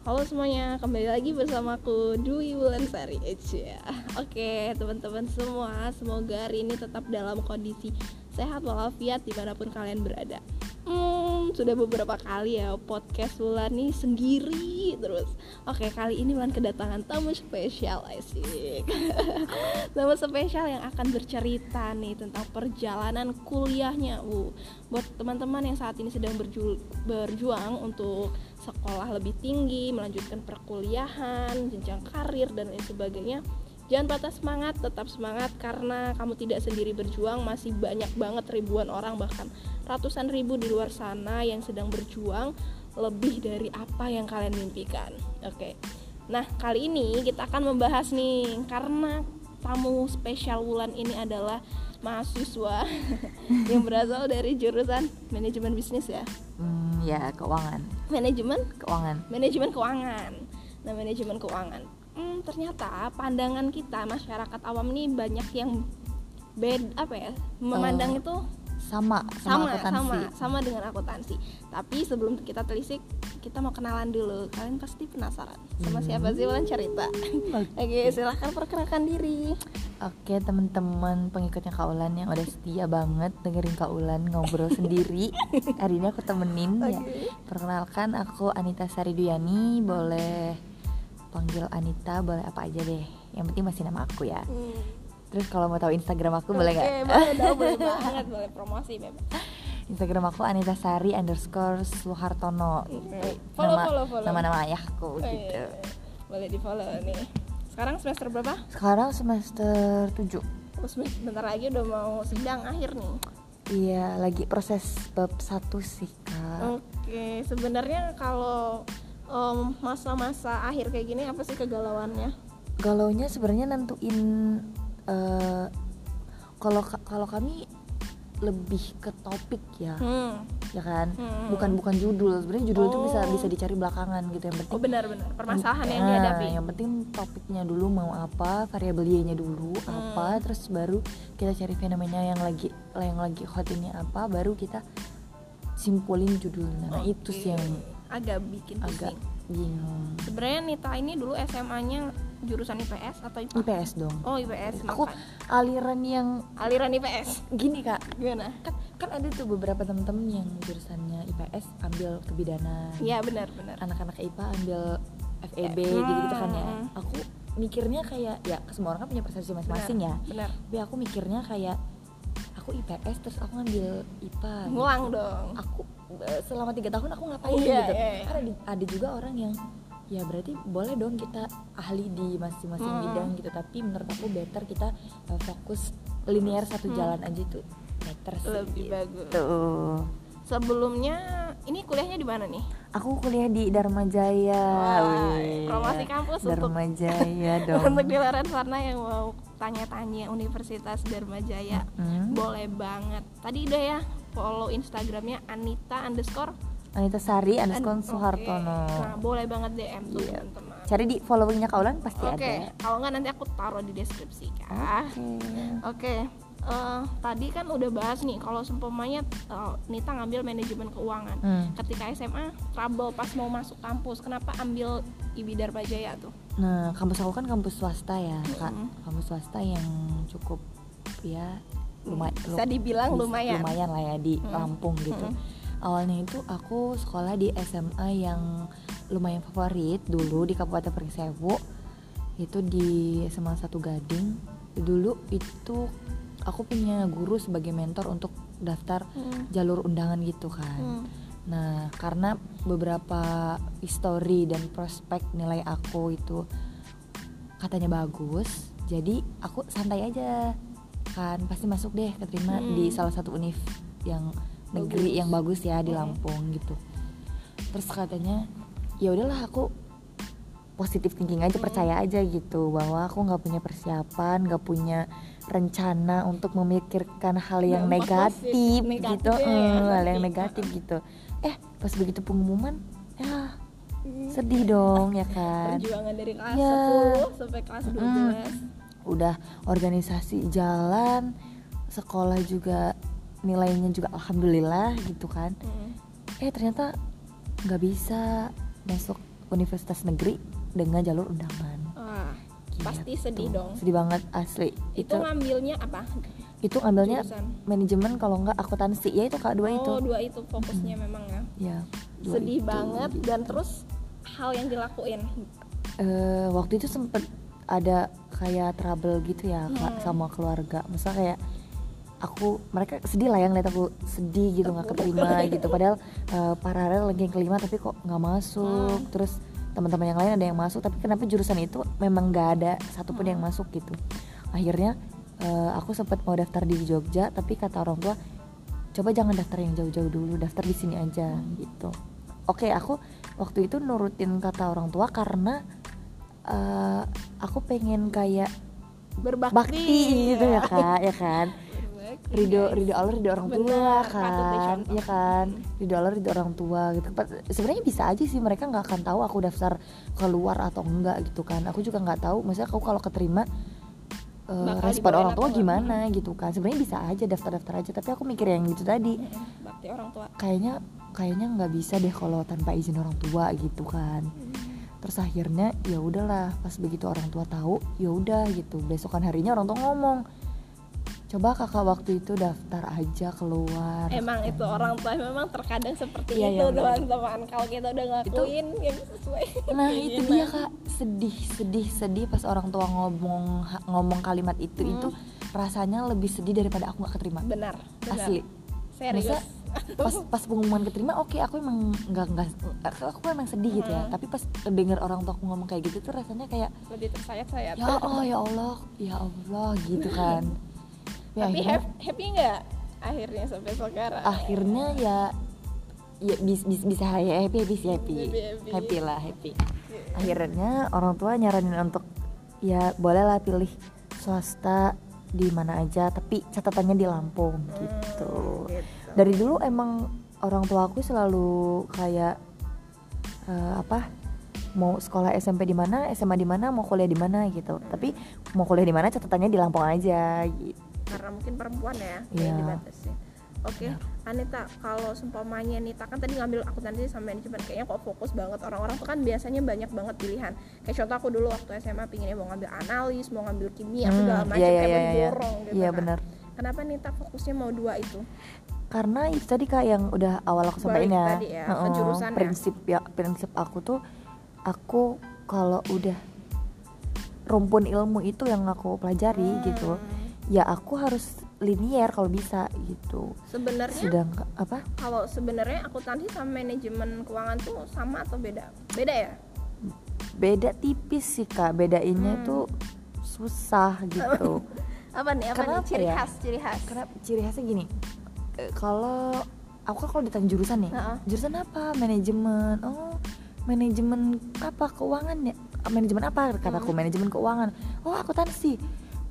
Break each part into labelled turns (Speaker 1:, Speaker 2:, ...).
Speaker 1: Halo semuanya, kembali lagi bersama aku Dwi Wulansari Eja. Oke, teman-teman semua, semoga hari ini tetap dalam kondisi sehat walafiat dimanapun kalian berada. Hmm, sudah beberapa kali ya podcast Wulan nih sendiri terus. Oke, kali ini Wulan kedatangan tamu spesial asik. tamu spesial yang akan bercerita nih tentang perjalanan kuliahnya. Uh, buat teman-teman yang saat ini sedang berju- berjuang untuk sekolah lebih tinggi, melanjutkan perkuliahan, jenjang karir dan lain sebagainya. Jangan patah semangat, tetap semangat karena kamu tidak sendiri berjuang, masih banyak banget ribuan orang bahkan ratusan ribu di luar sana yang sedang berjuang lebih dari apa yang kalian mimpikan. Oke. Nah, kali ini kita akan membahas nih karena tamu spesial Wulan ini adalah mahasiswa yang berasal dari jurusan manajemen bisnis ya.
Speaker 2: Hmm, ya keuangan,
Speaker 1: Manajemen
Speaker 2: keuangan.
Speaker 1: manajemen keuangan. Nah, manajemen keuangan. Hmm, ternyata pandangan kita masyarakat awam nih banyak yang bed apa ya? Memandang itu
Speaker 2: Sama,
Speaker 1: sama
Speaker 2: sama, akuntansi.
Speaker 1: sama sama dengan akuntansi. Tapi sebelum kita telisik, kita mau kenalan dulu. Kalian pasti penasaran sama siapa sih Wulan cerita. Hmm. Oke, silahkan perkenalkan diri.
Speaker 2: Oke teman-teman pengikutnya Kak Ulan yang udah setia banget dengerin Kak Ulan ngobrol sendiri. Hari ini aku temenin
Speaker 1: Iya.
Speaker 2: ya. Perkenalkan aku Anita Sari Duyani, boleh panggil Anita, boleh apa aja deh. Yang penting masih nama aku ya.
Speaker 1: Hmm.
Speaker 2: Terus kalau mau tahu Instagram aku boleh nggak?
Speaker 1: Oke, boleh dong, boleh banget, boleh promosi bebas.
Speaker 2: Instagram aku Anita Sari underscore Suhartono.
Speaker 1: Oke, follow,
Speaker 2: nama,
Speaker 1: follow, follow.
Speaker 2: Nama-nama ayahku
Speaker 1: Oh,
Speaker 2: gitu.
Speaker 1: iya. Boleh di-follow nih. Sekarang semester berapa?
Speaker 2: Sekarang semester 7
Speaker 1: Terus Oh, bentar lagi udah mau sidang akhir nih.
Speaker 2: Iya, lagi proses bab satu sih kak.
Speaker 1: Oke, sebenarnya kalau em, masa-masa akhir kayak gini apa sih kegalauannya?
Speaker 2: Galaunya sebenarnya nentuin eh, kalau ka- kalau kami lebih ke topik ya,
Speaker 1: Hmm.
Speaker 2: ya kan?
Speaker 1: Hmm.
Speaker 2: Bukan bukan judul. Sebenarnya judul itu bisa
Speaker 1: Oh.
Speaker 2: bisa dicari belakangan gitu yang
Speaker 1: Oh
Speaker 2: penting.
Speaker 1: benar-benar permasalahan yang
Speaker 2: Nah,
Speaker 1: dihadapi.
Speaker 2: Yang penting topiknya dulu mau apa, variabel Y-nya dulu
Speaker 1: Hmm.
Speaker 2: apa, terus baru kita cari fenomena yang lagi yang lagi hot ini apa, baru kita simpulin judulnya. Nah, itu sih yang
Speaker 1: agak bikin
Speaker 2: agak
Speaker 1: pusing.
Speaker 2: bingung.
Speaker 1: Sebenarnya Nita ini dulu SMA-nya jurusan IPS atau IPA?
Speaker 2: IPS dong.
Speaker 1: Oh, IPS.
Speaker 2: Aku
Speaker 1: makanya.
Speaker 2: aliran yang
Speaker 1: aliran IPS.
Speaker 2: gini kak,
Speaker 1: Gimana?
Speaker 2: kan kan ada tuh beberapa temen-temen yang jurusannya IPS ambil kebidanan,
Speaker 1: Iya, benar-benar.
Speaker 2: anak-anak IPA ambil FEB
Speaker 1: Hmm.
Speaker 2: gitu gitu kan ya. Aku mikirnya kayak ya semua orang kan punya persepsi masing-masing ya.
Speaker 1: Benar.
Speaker 2: Tapi aku mikirnya kayak aku IPS terus aku ngambil IPA. gitu.
Speaker 1: Ngulang dong.
Speaker 2: Aku eh, selama tiga tahun aku ngapain
Speaker 1: Iya,
Speaker 2: gitu.
Speaker 1: iya, iya.
Speaker 2: Karena di- ada juga orang yang ya berarti boleh dong kita ahli di masing-masing
Speaker 1: Mm-mm.
Speaker 2: bidang gitu. Tapi menurut aku better kita eh, fokus linear satu
Speaker 1: Hmm.
Speaker 2: jalan aja itu better sih.
Speaker 1: Lebih
Speaker 2: gitu.
Speaker 1: bagus. Sebelumnya ini kuliahnya di mana nih?
Speaker 2: Aku kuliah di Dharma Jaya.
Speaker 1: Wah,
Speaker 2: weh.
Speaker 1: promosi kampus untuk-
Speaker 2: Ah, Dharma Jaya dong.
Speaker 1: Untuk di luaran sana yang mau tanya-tanya Universitas Dharma Jaya
Speaker 2: Hmm.
Speaker 1: Boleh banget Tadi udah ya follow Instagramnya Anita underscore
Speaker 2: Anita Sari underscore
Speaker 1: Oke.
Speaker 2: Suhartono.
Speaker 1: Nah boleh banget DM tuh
Speaker 2: Iya.
Speaker 1: teman-teman
Speaker 2: Cari di followingnya Kaulan pasti
Speaker 1: Oke,
Speaker 2: ada. Hmm?
Speaker 1: kalau nggak nanti aku taruh di deskripsi ya Oke, eh, tadi kan udah bahas nih Kalau seumpamanya eh, Nita ngambil manajemen keuangan
Speaker 2: Hmm.
Speaker 1: Ketika SMA, trouble pas mau masuk kampus Kenapa ambil IBI Dharma Jaya tuh? Hmm,
Speaker 2: Nah, kampus aku kan kampus swasta ya, Kak.
Speaker 1: Mm-mm.
Speaker 2: Kampus swasta yang cukup ya lumayan
Speaker 1: Bisa dibilang Hmm, lumayan Hmm,
Speaker 2: lah ya di
Speaker 1: Mm-mm.
Speaker 2: Lampung gitu.
Speaker 1: Mm-mm.
Speaker 2: Awalnya itu aku sekolah di SMA yang lumayan favorit dulu di Kabupaten Persewu. Itu di SMA Satu Gading. Dulu itu aku punya guru sebagai mentor untuk daftar
Speaker 1: Hmm,
Speaker 2: jalur undangan gitu kan.
Speaker 1: hmm.
Speaker 2: Nah, karena beberapa histori dan prospek nilai aku itu katanya bagus, jadi aku santai aja kan pasti masuk deh keterima
Speaker 1: Hmm.
Speaker 2: di salah satu univ yang negeri
Speaker 1: Bagus.
Speaker 2: yang bagus ya di
Speaker 1: Hmm.
Speaker 2: Lampung gitu. Terus katanya ya udahlah aku positif thinking aja
Speaker 1: Hmm.
Speaker 2: percaya aja gitu bahwa aku nggak punya persiapan nggak punya rencana untuk memikirkan hal yang
Speaker 1: Dampak positif-
Speaker 2: negatif,
Speaker 1: negatif
Speaker 2: gitu
Speaker 1: ya,
Speaker 2: eh,
Speaker 1: yang
Speaker 2: hal yang
Speaker 1: nanti.
Speaker 2: negatif gitu eh pas begitu pengumuman ya sedih dong ya kan
Speaker 1: perjuangan dari kelas
Speaker 2: Ya.
Speaker 1: 10 sampai kelas 12
Speaker 2: Mm-mm. udah organisasi jalan sekolah juga nilainya juga alhamdulillah gitu kan
Speaker 1: Mm.
Speaker 2: eh ternyata nggak bisa masuk universitas negeri dengan jalur undangan.
Speaker 1: Wah, pasti sedih
Speaker 2: Gitu.
Speaker 1: dong.
Speaker 2: Sedih banget asli.
Speaker 1: Ah, Itu
Speaker 2: Itu
Speaker 1: ngambilnya apa?
Speaker 2: itu ambilnya
Speaker 1: Jurusan.
Speaker 2: manajemen kalau nggak akuntansi ya itu kak dua itu.
Speaker 1: Oh, dua itu fokusnya memang ya.
Speaker 2: Ya. dua
Speaker 1: Sedih
Speaker 2: itu.
Speaker 1: banget dan terus hal yang dilakuin.
Speaker 2: Eh, waktu itu sempet ada kayak trouble gitu ya Kak,
Speaker 1: Hmm.
Speaker 2: sama keluarga. Maksudnya kayak aku mereka sedih lah yang lihat aku sedih gitu nggak keterima gitu. Padahal eh, paralel lagi yang kelima tapi kok nggak masuk.
Speaker 1: Mm.
Speaker 2: Terus teman-teman yang lain ada yang masuk tapi kenapa jurusan itu memang nggak ada satupun
Speaker 1: Mm.
Speaker 2: yang masuk gitu. Akhirnya eh, aku sempet mau daftar di Jogja tapi kata orang tua coba jangan daftar yang jauh-jauh dulu daftar di sini aja gitu oke aku waktu itu nurutin kata orang tua karena eh, aku pengen kayak
Speaker 1: Berbakti. Iya.
Speaker 2: bakti gitu ya kak ya kan
Speaker 1: Berbakti,
Speaker 2: ridho
Speaker 1: guys.
Speaker 2: ridho Allah ridho orang
Speaker 1: Bener,
Speaker 2: tua
Speaker 1: patut
Speaker 2: kan
Speaker 1: dicontoh.
Speaker 2: ya kan ridho Allah ridho orang tua gitu Pa- sebenarnya bisa aja sih mereka nggak akan tahu aku daftar keluar atau enggak gitu kan aku juga nggak tahu maksudnya aku kalau keterima eh,
Speaker 1: Bakal
Speaker 2: respon
Speaker 1: dibawain
Speaker 2: orang tua
Speaker 1: atau Hmm. enggak.
Speaker 2: gimana gitu kan sebenarnya bisa aja daftar-daftar aja tapi aku mikir yang gitu tadi
Speaker 1: Mm-mm, Iya, Bakti orang tua.
Speaker 2: kayaknya kayaknya nggak bisa deh kalau tanpa izin orang tua gitu kan
Speaker 1: Hmm.
Speaker 2: terus akhirnya ya udahlah pas begitu orang tua tahu ya udah gitu besokan harinya orang tua ngomong coba kakak waktu itu daftar aja keluar
Speaker 1: Emang itu orang tua memang terkadang seperti
Speaker 2: Iya,
Speaker 1: itu
Speaker 2: iya, bener.
Speaker 1: teman-teman. Kalau kita udah ngelakuin yang sesuai.
Speaker 2: nah itu dia kak sedih sedih sedih pas orang tua ngomong ngomong kalimat itu
Speaker 1: Hmm.
Speaker 2: itu rasanya lebih sedih daripada aku nggak keterima
Speaker 1: Benar, benar.
Speaker 2: asli
Speaker 1: Serius.
Speaker 2: Masa pas pas pengumuman keterima oke aku emang nggak nggak aku emang sedih gitu
Speaker 1: Hmm.
Speaker 2: ya tapi pas denger orang tua aku ngomong kayak gitu tuh rasanya kayak
Speaker 1: Lebih tersayat-sayat.
Speaker 2: ya Allah ya Allah ya Allah gitu kan Ya,
Speaker 1: Tapi
Speaker 2: akhirnya,
Speaker 1: hap- happy nggak akhirnya sampai sekarang?
Speaker 2: akhirnya ya ya bis, bis- bisa ya happy happy sih, happy
Speaker 1: Happy, happy. Iya.
Speaker 2: happy lah happy akhirnya orang tua nyaranin untuk ya bolehlah pilih swasta di mana aja tapi catatannya di Lampung
Speaker 1: Hmm.
Speaker 2: gitu dari dulu emang orang tua aku selalu kayak eh, apa mau sekolah SMP di mana SMA di mana mau kuliah di mana gitu tapi mau kuliah di mana catatannya di Lampung aja gitu
Speaker 1: karena mungkin perempuan ya
Speaker 2: Iya.
Speaker 1: yang dibatasi. Oke, Anita, kalau seumpamanya Anita kan tadi ngambil akuntansi sama manajemen, kayaknya kok fokus banget orang-orang tuh kan biasanya banyak banget pilihan. Kayak contoh aku dulu waktu SMA pinginnya mau ngambil analis, mau ngambil kimia,
Speaker 2: Hmm,
Speaker 1: segala macam
Speaker 2: iya, iya,
Speaker 1: kayak
Speaker 2: iya, iya.
Speaker 1: mendorong gitu.
Speaker 2: Iya,
Speaker 1: kan.
Speaker 2: benar.
Speaker 1: Kenapa Anita fokusnya mau dua itu?
Speaker 2: karena itu tadi kak yang udah awal aku
Speaker 1: Balik
Speaker 2: sampaikan ya,
Speaker 1: tadi ya,
Speaker 2: Heeh,
Speaker 1: ke jurusan ya.
Speaker 2: prinsip ya prinsip aku tuh aku kalau udah rumpun ilmu itu yang aku pelajari gitu
Speaker 1: Hmm,
Speaker 2: ya aku harus linier kalau bisa gitu
Speaker 1: Sebenarnya
Speaker 2: sedang apa
Speaker 1: kalau sebenarnya akuntansi sama manajemen keuangan tuh sama atau beda? Beda ya?
Speaker 2: beda tipis sih kak
Speaker 1: Hmm.
Speaker 2: bedainnya tuh susah gitu
Speaker 1: Apa nih? Apa
Speaker 2: Kenapa
Speaker 1: nih? Ciri
Speaker 2: ya?
Speaker 1: khas, ciri khas.
Speaker 2: karena ciri khasnya gini eh, kalau aku kan kalau ditanya jurusan ya
Speaker 1: Heeh.
Speaker 2: jurusan apa manajemen oh manajemen apa keuangan ya manajemen apa kataku manajemen keuangan oh akuntansi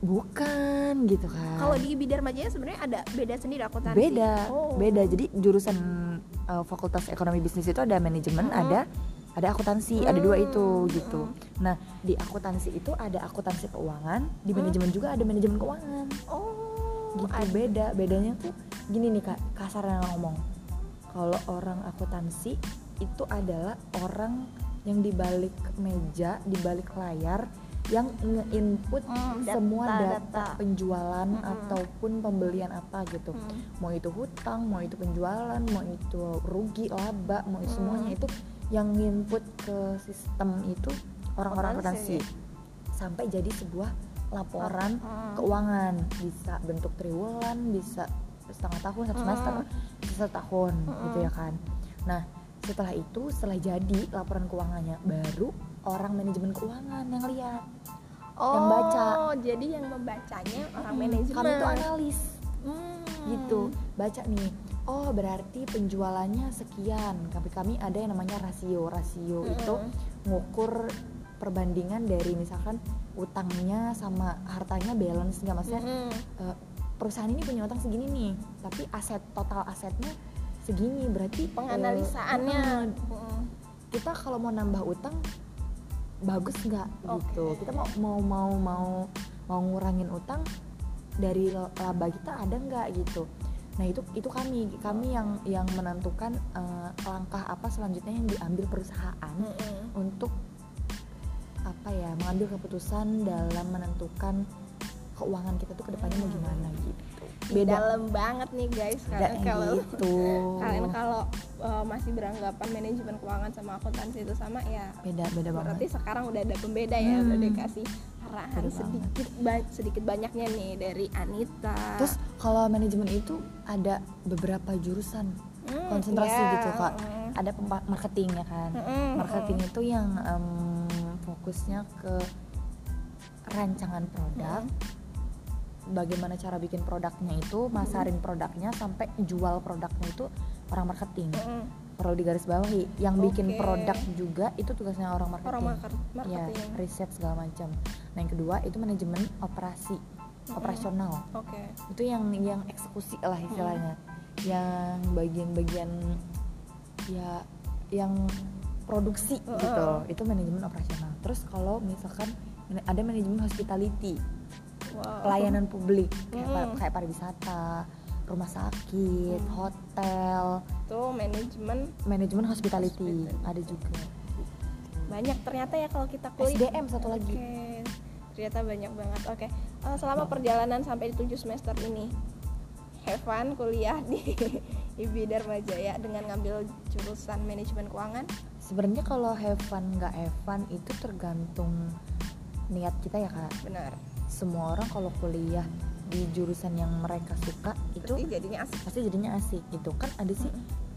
Speaker 2: bukan gitu kan
Speaker 1: Kalau di Bidar Majaya sebenarnya ada beda sendiri akuntansi.
Speaker 2: beda
Speaker 1: Oh.
Speaker 2: beda jadi jurusan eh, fakultas ekonomi bisnis itu ada manajemen
Speaker 1: Mm-mm.
Speaker 2: ada ada akuntansi ada dua
Speaker 1: Mm,
Speaker 2: itu gitu nah di akuntansi itu ada akuntansi keuangan di
Speaker 1: Mm.
Speaker 2: manajemen juga ada manajemen keuangan
Speaker 1: Oh,
Speaker 2: gitu beda bedanya tuh gini nih kak kasarnya ngomong kalau orang akuntansi itu adalah orang yang di balik meja di balik layar yang nge-input
Speaker 1: Hmm, data-
Speaker 2: semua data,
Speaker 1: data.
Speaker 2: penjualan
Speaker 1: Mm-mm.
Speaker 2: ataupun pembelian apa gitu
Speaker 1: Hmm.
Speaker 2: mau itu hutang mau itu penjualan mau itu rugi laba mau itu
Speaker 1: Hmm.
Speaker 2: semuanya itu yang input ke sistem itu orang-orang
Speaker 1: Akuntansi.
Speaker 2: akuntansi sampai jadi sebuah laporan
Speaker 1: Hmm.
Speaker 2: keuangan bisa bentuk triwulan bisa setengah tahun satu
Speaker 1: Hmm.
Speaker 2: semester bisa setahun
Speaker 1: Hmm.
Speaker 2: gitu ya kan nah setelah itu setelah jadi laporan keuangannya baru orang manajemen keuangan yang lihat
Speaker 1: oh,
Speaker 2: yang baca.
Speaker 1: jadi yang membacanya orang
Speaker 2: Hmm,
Speaker 1: manajemen.
Speaker 2: kami itu analis
Speaker 1: Hmm.
Speaker 2: gitu baca nih oh berarti penjualannya sekian tapi kami ada yang namanya rasio rasio
Speaker 1: Mm-mm.
Speaker 2: itu ngukur perbandingan dari misalkan utangnya sama hartanya balance nggak maksudnya
Speaker 1: Mm-mm.
Speaker 2: eh, perusahaan ini punya utang segini nih tapi aset total asetnya segini berarti eh,
Speaker 1: Penganalisaannya. Hmm,
Speaker 2: eh,
Speaker 1: Mm-mm.
Speaker 2: kita kalau mau nambah utang bagus nggak gitu
Speaker 1: Oke.
Speaker 2: kita mau mau mau mau mau ngurangin utang dari laba kita ada nggak gitu Nah itu itu kami kami yang yang menentukan eh, langkah apa selanjutnya yang diambil perusahaan
Speaker 1: Mm-mm.
Speaker 2: untuk apa ya mengambil keputusan dalam menentukan keuangan kita tuh kedepannya mau gimana gitu. Beda
Speaker 1: dalam banget nih guys Hmm.
Speaker 2: beda
Speaker 1: karena kalau
Speaker 2: gitu.
Speaker 1: kalian kalau uh, masih beranggapan manajemen keuangan sama akuntansi itu sama ya
Speaker 2: beda beda Iya banget.
Speaker 1: berarti sekarang udah ada pembeda ya
Speaker 2: Hmm.
Speaker 1: udah dikasih arahan
Speaker 2: Betul
Speaker 1: sedikit ba- sedikit banyaknya nih dari Anita
Speaker 2: Terus kalau manajemen itu ada beberapa jurusan
Speaker 1: Hmm,
Speaker 2: konsentrasi
Speaker 1: iya, Hmm.
Speaker 2: gitu kak.
Speaker 1: mm.
Speaker 2: Ada pempa- marketing ya kan.
Speaker 1: Mm-mm,
Speaker 2: Marketing itu yang em, fokusnya ke rancangan
Speaker 1: Hmm.
Speaker 2: produk. Bagaimana cara bikin produknya itu, masarin produknya sampai jual produknya itu orang marketing.
Speaker 1: mm, mm.
Speaker 2: Perlu digarisbawahi. Yang bikin
Speaker 1: Oke.
Speaker 2: produk juga itu tugasnya orang marketing.
Speaker 1: orang market-
Speaker 2: Ya,
Speaker 1: marketing
Speaker 2: riset segala macam. Nah yang kedua itu manajemen operasi,
Speaker 1: Mm-mm.
Speaker 2: operasional
Speaker 1: oke
Speaker 2: itu yang yang eksekusi lah istilahnya
Speaker 1: Hmm.
Speaker 2: yang bagian-bagian ya yang produksi
Speaker 1: Heeh.
Speaker 2: gitu itu manajemen operasional terus kalau misalkan mana- ada manajemen hospitality
Speaker 1: wow.
Speaker 2: pelayanan publik kayak, par-
Speaker 1: Mm.
Speaker 2: kayak pariwisata rumah sakit
Speaker 1: Mm.
Speaker 2: hotel
Speaker 1: itu manajemen
Speaker 2: manajemen hospitality
Speaker 1: Hospitality.
Speaker 2: ada juga
Speaker 1: banyak ternyata ya kalau kita kuliah
Speaker 2: SDM satu lagi
Speaker 1: Oke, ternyata banyak banget. Oke, eh, selama perjalanan sampai di tujuh semester ini, have fun kuliah di IB Dharma Jaya dengan ngambil jurusan manajemen keuangan.
Speaker 2: sebenarnya kalau have fun nggak have fun itu tergantung niat kita ya kak
Speaker 1: Benar.
Speaker 2: semua orang kalau kuliah di jurusan yang mereka suka
Speaker 1: Berarti
Speaker 2: itu
Speaker 1: jadinya asik.
Speaker 2: pasti jadinya asik gitu kan ada sih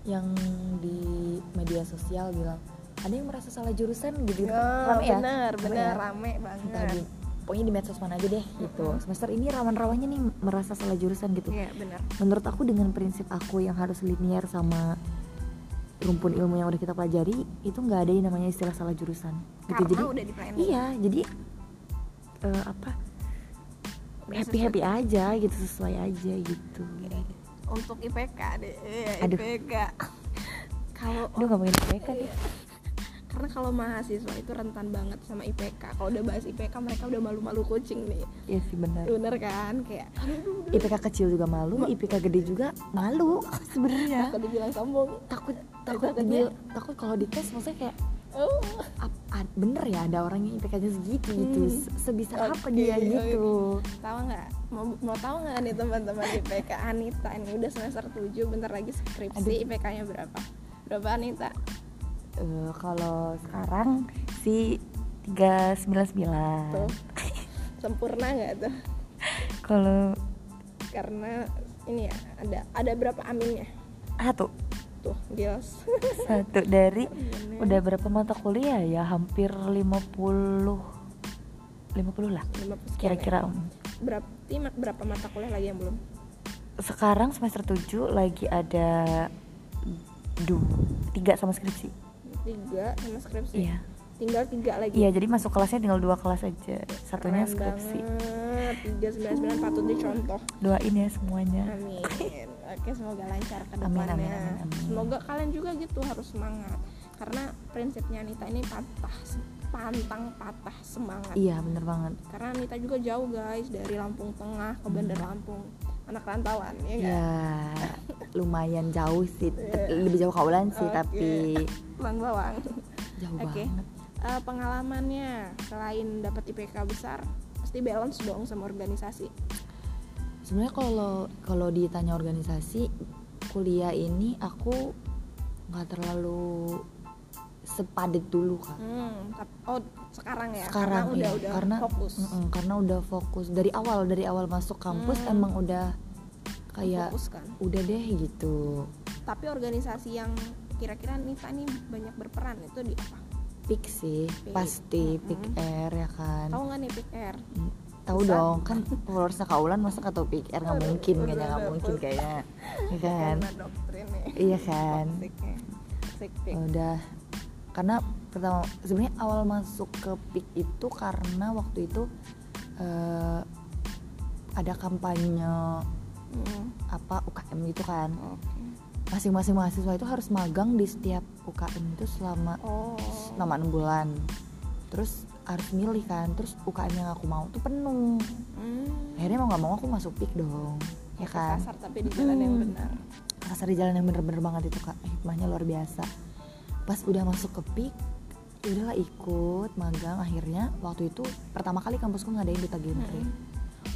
Speaker 2: yang di media sosial bilang ada yang merasa salah jurusan gitu gitu
Speaker 1: Oh,
Speaker 2: rame ya
Speaker 1: benar,
Speaker 2: Rame
Speaker 1: benar
Speaker 2: ya?
Speaker 1: rame
Speaker 2: Entah
Speaker 1: banget.
Speaker 2: di- pokoknya di medsos mana aja deh gitu
Speaker 1: Mm-mm.
Speaker 2: semester ini rawan-rawannya nih merasa salah jurusan gitu
Speaker 1: Iya, benar.
Speaker 2: menurut aku dengan prinsip aku yang harus linear sama rumpun ilmu yang udah kita pelajari itu nggak ada yang namanya istilah salah jurusan gitu
Speaker 1: Karena
Speaker 2: jadi
Speaker 1: udah di planning.
Speaker 2: Iya, jadi eh, apa happy happy aja gitu sesuai aja gitu.
Speaker 1: Untuk IPK deh, iya,
Speaker 2: Aduh.
Speaker 1: IPK. Kalau
Speaker 2: Aduh nggak pengen IPK nih.
Speaker 1: Kan ya. karena kalau mahasiswa itu rentan banget sama IPK. Kalau udah bahas IPK mereka udah malu-malu kucing nih.
Speaker 2: Iya sih benar.
Speaker 1: Bener kan? Kayak
Speaker 2: IPK kecil juga malu, IPK gede juga malu sebenarnya.
Speaker 1: Takut dibilang sombong.
Speaker 2: Takut takut
Speaker 1: Takutnya-
Speaker 2: dibil- takut kalau dites maksudnya kayak
Speaker 1: Oh,
Speaker 2: ap- a- bener ya ada orang yang IPK-nya segitu gitu,
Speaker 1: Hmm.
Speaker 2: se- sebisa apa
Speaker 1: Oke,
Speaker 2: dia
Speaker 1: oke.
Speaker 2: gitu.
Speaker 1: tahu nggak? Mau mau tahu nggak nih teman-teman IPK Anita ini udah semester 7 bentar lagi skripsi
Speaker 2: Aduh.
Speaker 1: IPK-nya berapa? Berapa Anita?
Speaker 2: Eh, kalau sekarang si 399.
Speaker 1: Tuh. Sempurna nggak tuh?
Speaker 2: Kalau
Speaker 1: Karena ini ya ada ada berapa aminnya?
Speaker 2: satu
Speaker 1: Tuh, deals.
Speaker 2: satu dari
Speaker 1: Bener.
Speaker 2: udah berapa mata kuliah ya hampir 50 50 lah
Speaker 1: 50 sekian ya.
Speaker 2: kira-kira mm. Om.
Speaker 1: berarti ma- berapa mata kuliah lagi yang belum?
Speaker 2: sekarang semester 7 lagi ada dua tiga sama skripsi
Speaker 1: Tiga sama skripsi.
Speaker 2: iya
Speaker 1: Tinggal tiga lagi.
Speaker 2: iya jadi masuk kelasnya tinggal dua kelas aja satunya
Speaker 1: Keren
Speaker 2: skripsi
Speaker 1: banget. Tiga sembilan sembilan patut dicontoh.
Speaker 2: doain ya semuanya
Speaker 1: Amin. Oke, semoga lancar ke
Speaker 2: Amin, amin,
Speaker 1: depannya.
Speaker 2: amin, amin.
Speaker 1: Semoga kalian juga gitu harus semangat. Karena prinsipnya Anita ini patah, pantang patah semangat.
Speaker 2: iya bener banget
Speaker 1: Karena Anita juga jauh guys dari Lampung Tengah
Speaker 2: Hmm.
Speaker 1: ke Bandar Lampung. Anak rantauan ya nggak?
Speaker 2: ya lumayan jauh sih Te- lebih jauh kaulan sih
Speaker 1: Oke.
Speaker 2: tapi
Speaker 1: Bang Bawang.
Speaker 2: jauh
Speaker 1: Oke.
Speaker 2: banget
Speaker 1: Eh, pengalamannya selain dapat IPK besar, pasti balance dong sama organisasi.
Speaker 2: sebenarnya kalau kalau ditanya organisasi kuliah ini aku nggak terlalu sepadet dulu kak
Speaker 1: Hmm, tap- oh sekarang ya.
Speaker 2: sekarang
Speaker 1: karena udah
Speaker 2: ya,
Speaker 1: udah
Speaker 2: karena
Speaker 1: fokus.
Speaker 2: mm-mm, karena udah fokus dari awal dari awal masuk kampus
Speaker 1: Hmm.
Speaker 2: emang udah kayak
Speaker 1: Fokus kan.
Speaker 2: udah deh gitu
Speaker 1: tapi organisasi yang kira-kira Nita nih banyak berperan itu di apa?
Speaker 2: pik sih
Speaker 1: Pik,
Speaker 2: pasti
Speaker 1: mm-mm.
Speaker 2: pik air ya kan
Speaker 1: Tahu nggak nih PKR?
Speaker 2: Mm, tahu
Speaker 1: Bisa.
Speaker 2: dong kan followersnya kaulan masa atau pik air nggak
Speaker 1: Aduh,
Speaker 2: mungkin
Speaker 1: udah,
Speaker 2: kayaknya nggak
Speaker 1: udah,
Speaker 2: mungkin
Speaker 1: udah.
Speaker 2: kayaknya ya kan
Speaker 1: Karena doktrin nih.
Speaker 2: iya kan
Speaker 1: Toksiknya. Toksik pik.
Speaker 2: udah karena pertama sebenarnya awal masuk ke PIK itu karena waktu itu eh, ada kampanye
Speaker 1: Mm,
Speaker 2: apa UKM gitu kan
Speaker 1: oke.
Speaker 2: masing-masing mahasiswa itu harus magang di setiap UKM itu selama
Speaker 1: Oh.
Speaker 2: selama enam bulan terus harus milih kan terus UKM yang aku mau tuh penuh
Speaker 1: Hmm.
Speaker 2: akhirnya mau nggak mau aku masuk PIK dong ya kan Hmm.
Speaker 1: Kesasar tapi di jalan yang benar.
Speaker 2: kasar di jalan yang bener-bener banget itu kak hikmahnya luar biasa pas udah masuk ke pik ya udahlah ikut magang akhirnya waktu itu pertama kali kampusku ngadain duta genre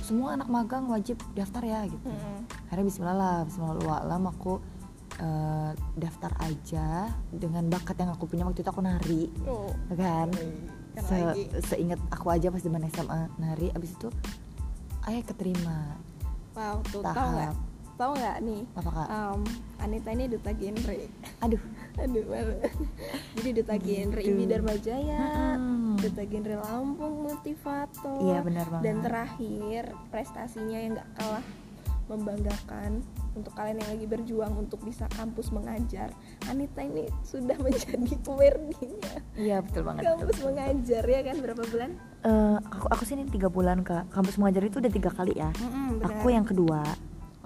Speaker 2: semua anak magang wajib daftar ya gitu
Speaker 1: Mm-mm.
Speaker 2: akhirnya Bismillah lah Bismillahirrahmanirrahim aku eh, daftar aja dengan bakat yang aku punya waktu itu aku nari
Speaker 1: Tuh.
Speaker 2: kan
Speaker 1: Kan
Speaker 2: Se
Speaker 1: lagi.
Speaker 2: seingat aku aja pas zaman SMA nari abis itu ayah keterima
Speaker 1: Wow, tuh tahu nggak? Ah.
Speaker 2: tahap Ah.
Speaker 1: Tahu nggak nih?
Speaker 2: apa kak
Speaker 1: Em, Anita ini duta genre.
Speaker 2: aduh
Speaker 1: Aduh, malu. Jadi duta genre
Speaker 2: Gitu.
Speaker 1: Ibi Dharma Jaya,
Speaker 2: Mm-mm.
Speaker 1: duta genre Lampung Motivator.
Speaker 2: iya benar banget
Speaker 1: Dan terakhir, prestasinya yang nggak kalah membanggakan untuk kalian yang lagi berjuang untuk bisa kampus mengajar. Anita ini sudah menjadi URD-nya
Speaker 2: Iya betul banget.
Speaker 1: kampus
Speaker 2: betul, betul, betul.
Speaker 1: mengajar ya kan berapa bulan?
Speaker 2: Eh, aku aku sini tiga bulan kak. Kampus mengajar itu udah tiga kali ya. Aku yang kedua.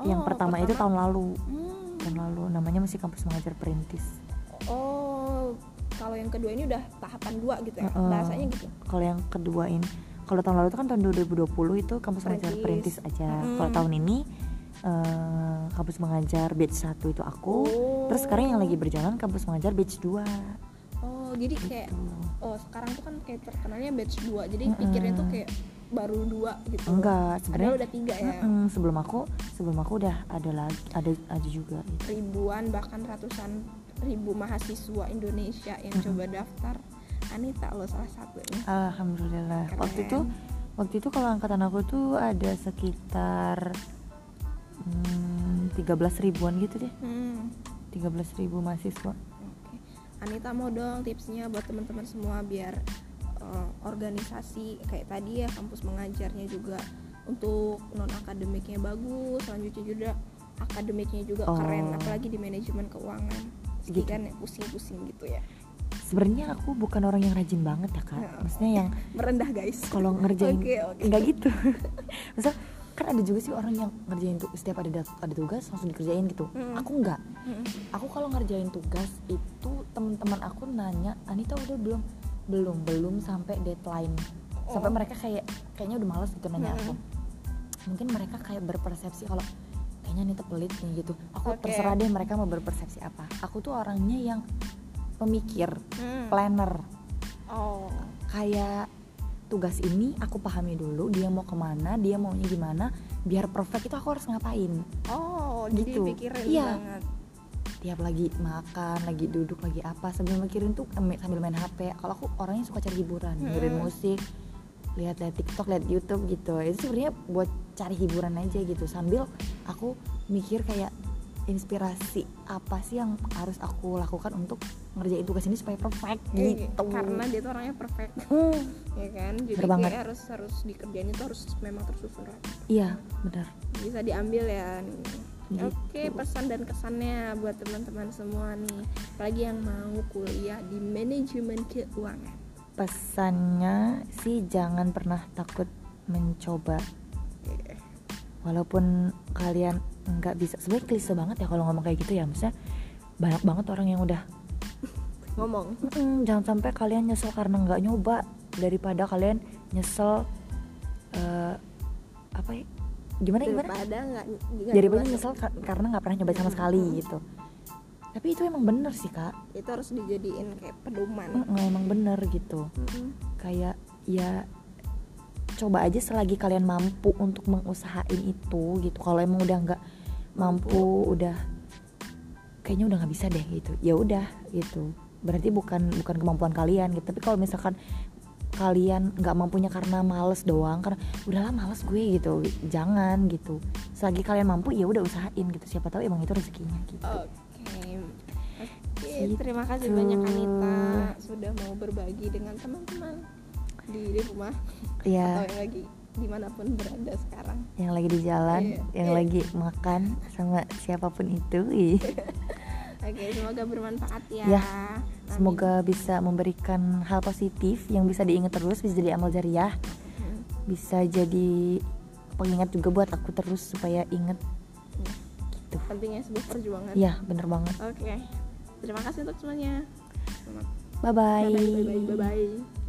Speaker 1: Oh,
Speaker 2: yang pertama, itu tahun lalu.
Speaker 1: Hmm.
Speaker 2: Tahun lalu namanya masih kampus mengajar perintis.
Speaker 1: Oh, kalau yang kedua ini udah tahapan dua gitu ya.
Speaker 2: Heeh.
Speaker 1: Bahasanya gitu.
Speaker 2: Kalau yang kedua ini, kalau tahun lalu itu kan tahun 2020 itu kampus mengajar
Speaker 1: Perintis.
Speaker 2: perintis aja.
Speaker 1: Mm-mm.
Speaker 2: Kalau tahun ini eh, kampus mengajar batch 1 itu aku. Terus sekarang yang lagi berjalan kampus mengajar batch 2
Speaker 1: Oh, jadi kayak
Speaker 2: gitu.
Speaker 1: oh sekarang tuh kan kayak terkenalnya batch 2. Jadi
Speaker 2: Mm-mm.
Speaker 1: pikirnya tuh kayak baru dua gitu. Padahal
Speaker 2: Enggak, sebenarnya
Speaker 1: udah tiga ya.
Speaker 2: Mm-mm, sebelum aku sebelum aku udah ada lagi ada ada juga gitu.
Speaker 1: Ribuan bahkan ratusan ribu mahasiswa Indonesia yang
Speaker 2: Mm-mm.
Speaker 1: coba daftar. Anita lo salah satunya.
Speaker 2: Alhamdulillah.
Speaker 1: Keren.
Speaker 2: Waktu itu waktu itu kalau angkatan aku tuh ada sekitar hmm, 13 ribuan gitu deh.
Speaker 1: Hmm.
Speaker 2: 13 ribu mahasiswa.
Speaker 1: Oke. Anita mau dong tipsnya buat teman-teman semua biar eh, organisasi kayak tadi ya kampus mengajarnya juga untuk non akademiknya bagus, selanjutnya juga akademiknya juga
Speaker 2: Oh.
Speaker 1: keren, apalagi di manajemen keuangan. Jadi
Speaker 2: Gitu.
Speaker 1: kan ya pusing-pusing gitu ya.
Speaker 2: Sebenarnya aku bukan orang yang rajin banget ya, Kak.
Speaker 1: Ya.
Speaker 2: Maksudnya yang
Speaker 1: Merendah guys.
Speaker 2: kalau ngerjain
Speaker 1: Oke, oke.
Speaker 2: nggak gitu. Misal kan ada juga sih orang yang ngerjain tuh setiap ada dat- ada tugas langsung dikerjain gitu.
Speaker 1: Mm.
Speaker 2: Aku nggak.
Speaker 1: Mm-mm.
Speaker 2: Aku kalau ngerjain tugas itu teman-teman aku nanya, "Anita udah belum?" Belum, belum sampai deadline.
Speaker 1: Oh.
Speaker 2: sampai
Speaker 1: Hmm.
Speaker 2: mereka kayak kayaknya udah males gitu nanya aku
Speaker 1: Mm-mm.
Speaker 2: mungkin mereka kayak berpersepsi kalau kayaknya nih pelit nih gitu aku
Speaker 1: Oke.
Speaker 2: terserah deh mereka mau berpersepsi apa aku tuh orangnya yang pemikir
Speaker 1: Mm.
Speaker 2: planner
Speaker 1: Oh.
Speaker 2: kayak tugas ini aku pahami dulu dia mau kemana dia maunya gimana biar perfect itu aku harus ngapain
Speaker 1: Oh, jadi
Speaker 2: Gitu.
Speaker 1: pikirin
Speaker 2: Iya.
Speaker 1: banget.
Speaker 2: tiap lagi makan lagi duduk lagi apa sambil mikirin tuh em, sambil main hp kalau aku orangnya suka cari hiburan dengerin
Speaker 1: Mm-mm.
Speaker 2: musik lihat-lihat TikTok, lihat YouTube gitu. Itu sebenarnya buat cari hiburan aja gitu. Sambil aku mikir kayak inspirasi apa sih yang harus aku lakukan untuk ngerjain tugas ini supaya perfect
Speaker 1: Iya,
Speaker 2: gitu.
Speaker 1: Karena dia tuh orangnya perfect,
Speaker 2: Hmm,
Speaker 1: ya kan? Jadi
Speaker 2: Bener banget.
Speaker 1: kayak harus harus dikerjain itu harus memang tersusun rapi.
Speaker 2: iya, benar.
Speaker 1: bisa diambil ya nih.
Speaker 2: Gitu.
Speaker 1: Oke, pesan dan kesannya buat teman-teman semua nih, apalagi yang mau kuliah di manajemen keuangan.
Speaker 2: Pesannya sih jangan pernah takut mencoba
Speaker 1: Iya.
Speaker 2: walaupun kalian nggak bisa sebenarnya klise banget ya kalau ngomong kayak gitu ya maksudnya banyak banget orang yang udah
Speaker 1: Ngomong.
Speaker 2: "Mm-mm, jangan sampai kalian nyesel karena nggak nyoba daripada kalian nyesel eh, apa ya gimana gimana
Speaker 1: Daripada nggak nggak
Speaker 2: daripada
Speaker 1: nyoba.
Speaker 2: nyesel kar- karena nggak pernah nyoba sama sekali gitu tapi itu emang bener sih kak
Speaker 1: itu harus dijadiin kayak pedoman.
Speaker 2: Mm-mm, emang bener gitu
Speaker 1: Mm-mm.
Speaker 2: kayak ya coba aja selagi kalian mampu untuk mengusahain itu gitu kalau emang udah nggak mampu, udah kayaknya udah nggak bisa deh gitu ya udah gitu berarti bukan bukan kemampuan kalian gitu tapi kalau misalkan kalian nggak mampunya karena males doang karena udahlah males gue gitu jangan gitu selagi kalian mampu ya udah usahain gitu siapa tahu emang itu rezekinya gitu
Speaker 1: Oh, Oke. Oke,
Speaker 2: Gitu.
Speaker 1: terima kasih banyak Anita sudah mau berbagi dengan teman-teman di, di rumah atau
Speaker 2: ya
Speaker 1: yang lagi dimanapun berada sekarang.
Speaker 2: yang lagi di jalan
Speaker 1: Iya.
Speaker 2: yang
Speaker 1: Iya.
Speaker 2: lagi makan sama siapapun itu iya. ih.
Speaker 1: Oke, semoga bermanfaat ya.
Speaker 2: Ya,
Speaker 1: Amin.
Speaker 2: Semoga bisa memberikan hal positif yang bisa diingat terus, bisa jadi amal jariah,
Speaker 1: Mm.
Speaker 2: bisa jadi pengingat juga buat aku terus supaya inget.
Speaker 1: pentingnya sebuah perjuangan.
Speaker 2: Ya, bener banget.
Speaker 1: Oke. Terima kasih untuk semuanya. Selamat-
Speaker 2: Bye bye.
Speaker 1: Bye bye bye bye. bye.